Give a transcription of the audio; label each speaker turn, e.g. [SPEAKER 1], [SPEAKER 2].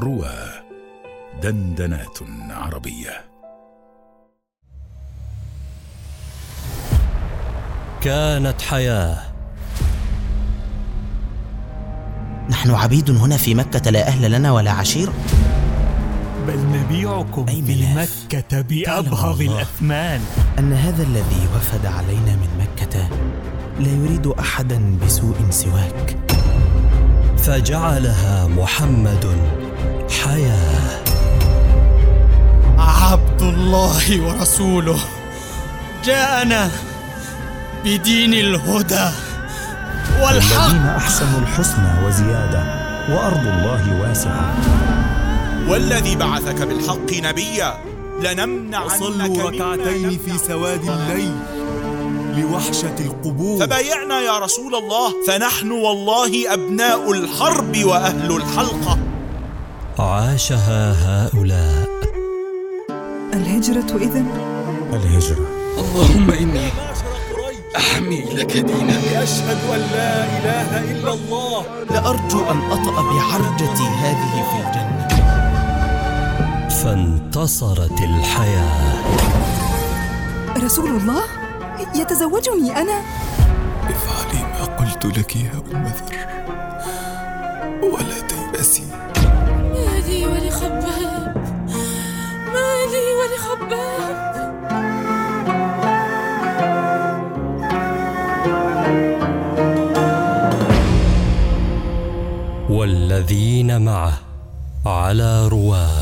[SPEAKER 1] روى دندنات عربية
[SPEAKER 2] كانت حياة
[SPEAKER 3] نحن عبيد هنا في مكة لا أهل لنا ولا عشيرة
[SPEAKER 4] بل نبيعكم
[SPEAKER 3] أي
[SPEAKER 4] في
[SPEAKER 3] ملاف.
[SPEAKER 4] مكة بأبهض
[SPEAKER 3] الله.
[SPEAKER 4] الأثمان
[SPEAKER 3] أن هذا الذي وفد علينا من مكة لا يريد أحدا بسوء سواك
[SPEAKER 2] فجعلها محمد حياة
[SPEAKER 5] عبد الله ورسوله جاءنا بدين الهدى والحق
[SPEAKER 6] الذين أحسنوا الحسنى وزيادة وأرض الله واسعة
[SPEAKER 7] والذي بعثك بالحق نبيا لنمنع
[SPEAKER 8] وصلوا ركعتين في سواد الليل لوحشة القبور
[SPEAKER 7] فبايعنا يا رسول الله فنحن والله أبناء الحرب وأهل الحلقة
[SPEAKER 2] عاشها هؤلاء
[SPEAKER 9] الهجرة إذن
[SPEAKER 6] الهجرة
[SPEAKER 10] اللهم إني أحمي لك دينك
[SPEAKER 8] أشهد أن لا إله إلا الله
[SPEAKER 3] لأرجو أن أطأ بحرجتي هذه في الجنة
[SPEAKER 2] فانتصرت الحياة
[SPEAKER 9] رسول الله يتزوجني أنا
[SPEAKER 10] افعلي ما قلت لك يا أم ذر ولا تيأسي
[SPEAKER 11] مالي ولخباب مالي ولخباب
[SPEAKER 2] والذين معه على رواه